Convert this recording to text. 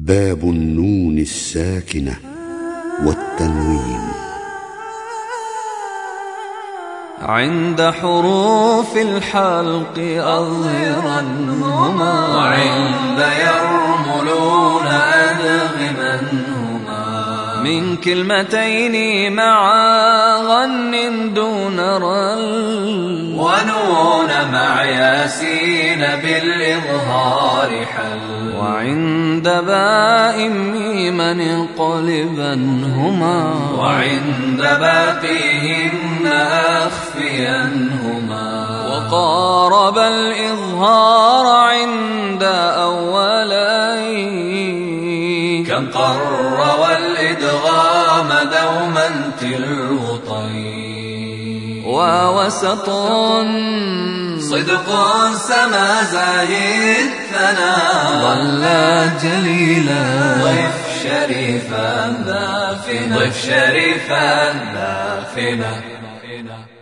باب النون الساكنة والتنوين عند حروف الحلق أظهرنهما وعند يرملون أدغمنهما من كلمتين معا غن دون رل ونون مع ياسين بالإظهار حل وعند باء ميما انقلبنهما وعند باقيهن أخفينهما وقارب الإظهار عند أولين كقر والإدغام دوما تلوطين ووسط صدق سما زايد ثنا ظلا جليلا ضيف شريفا ضيف شريفا ضافنا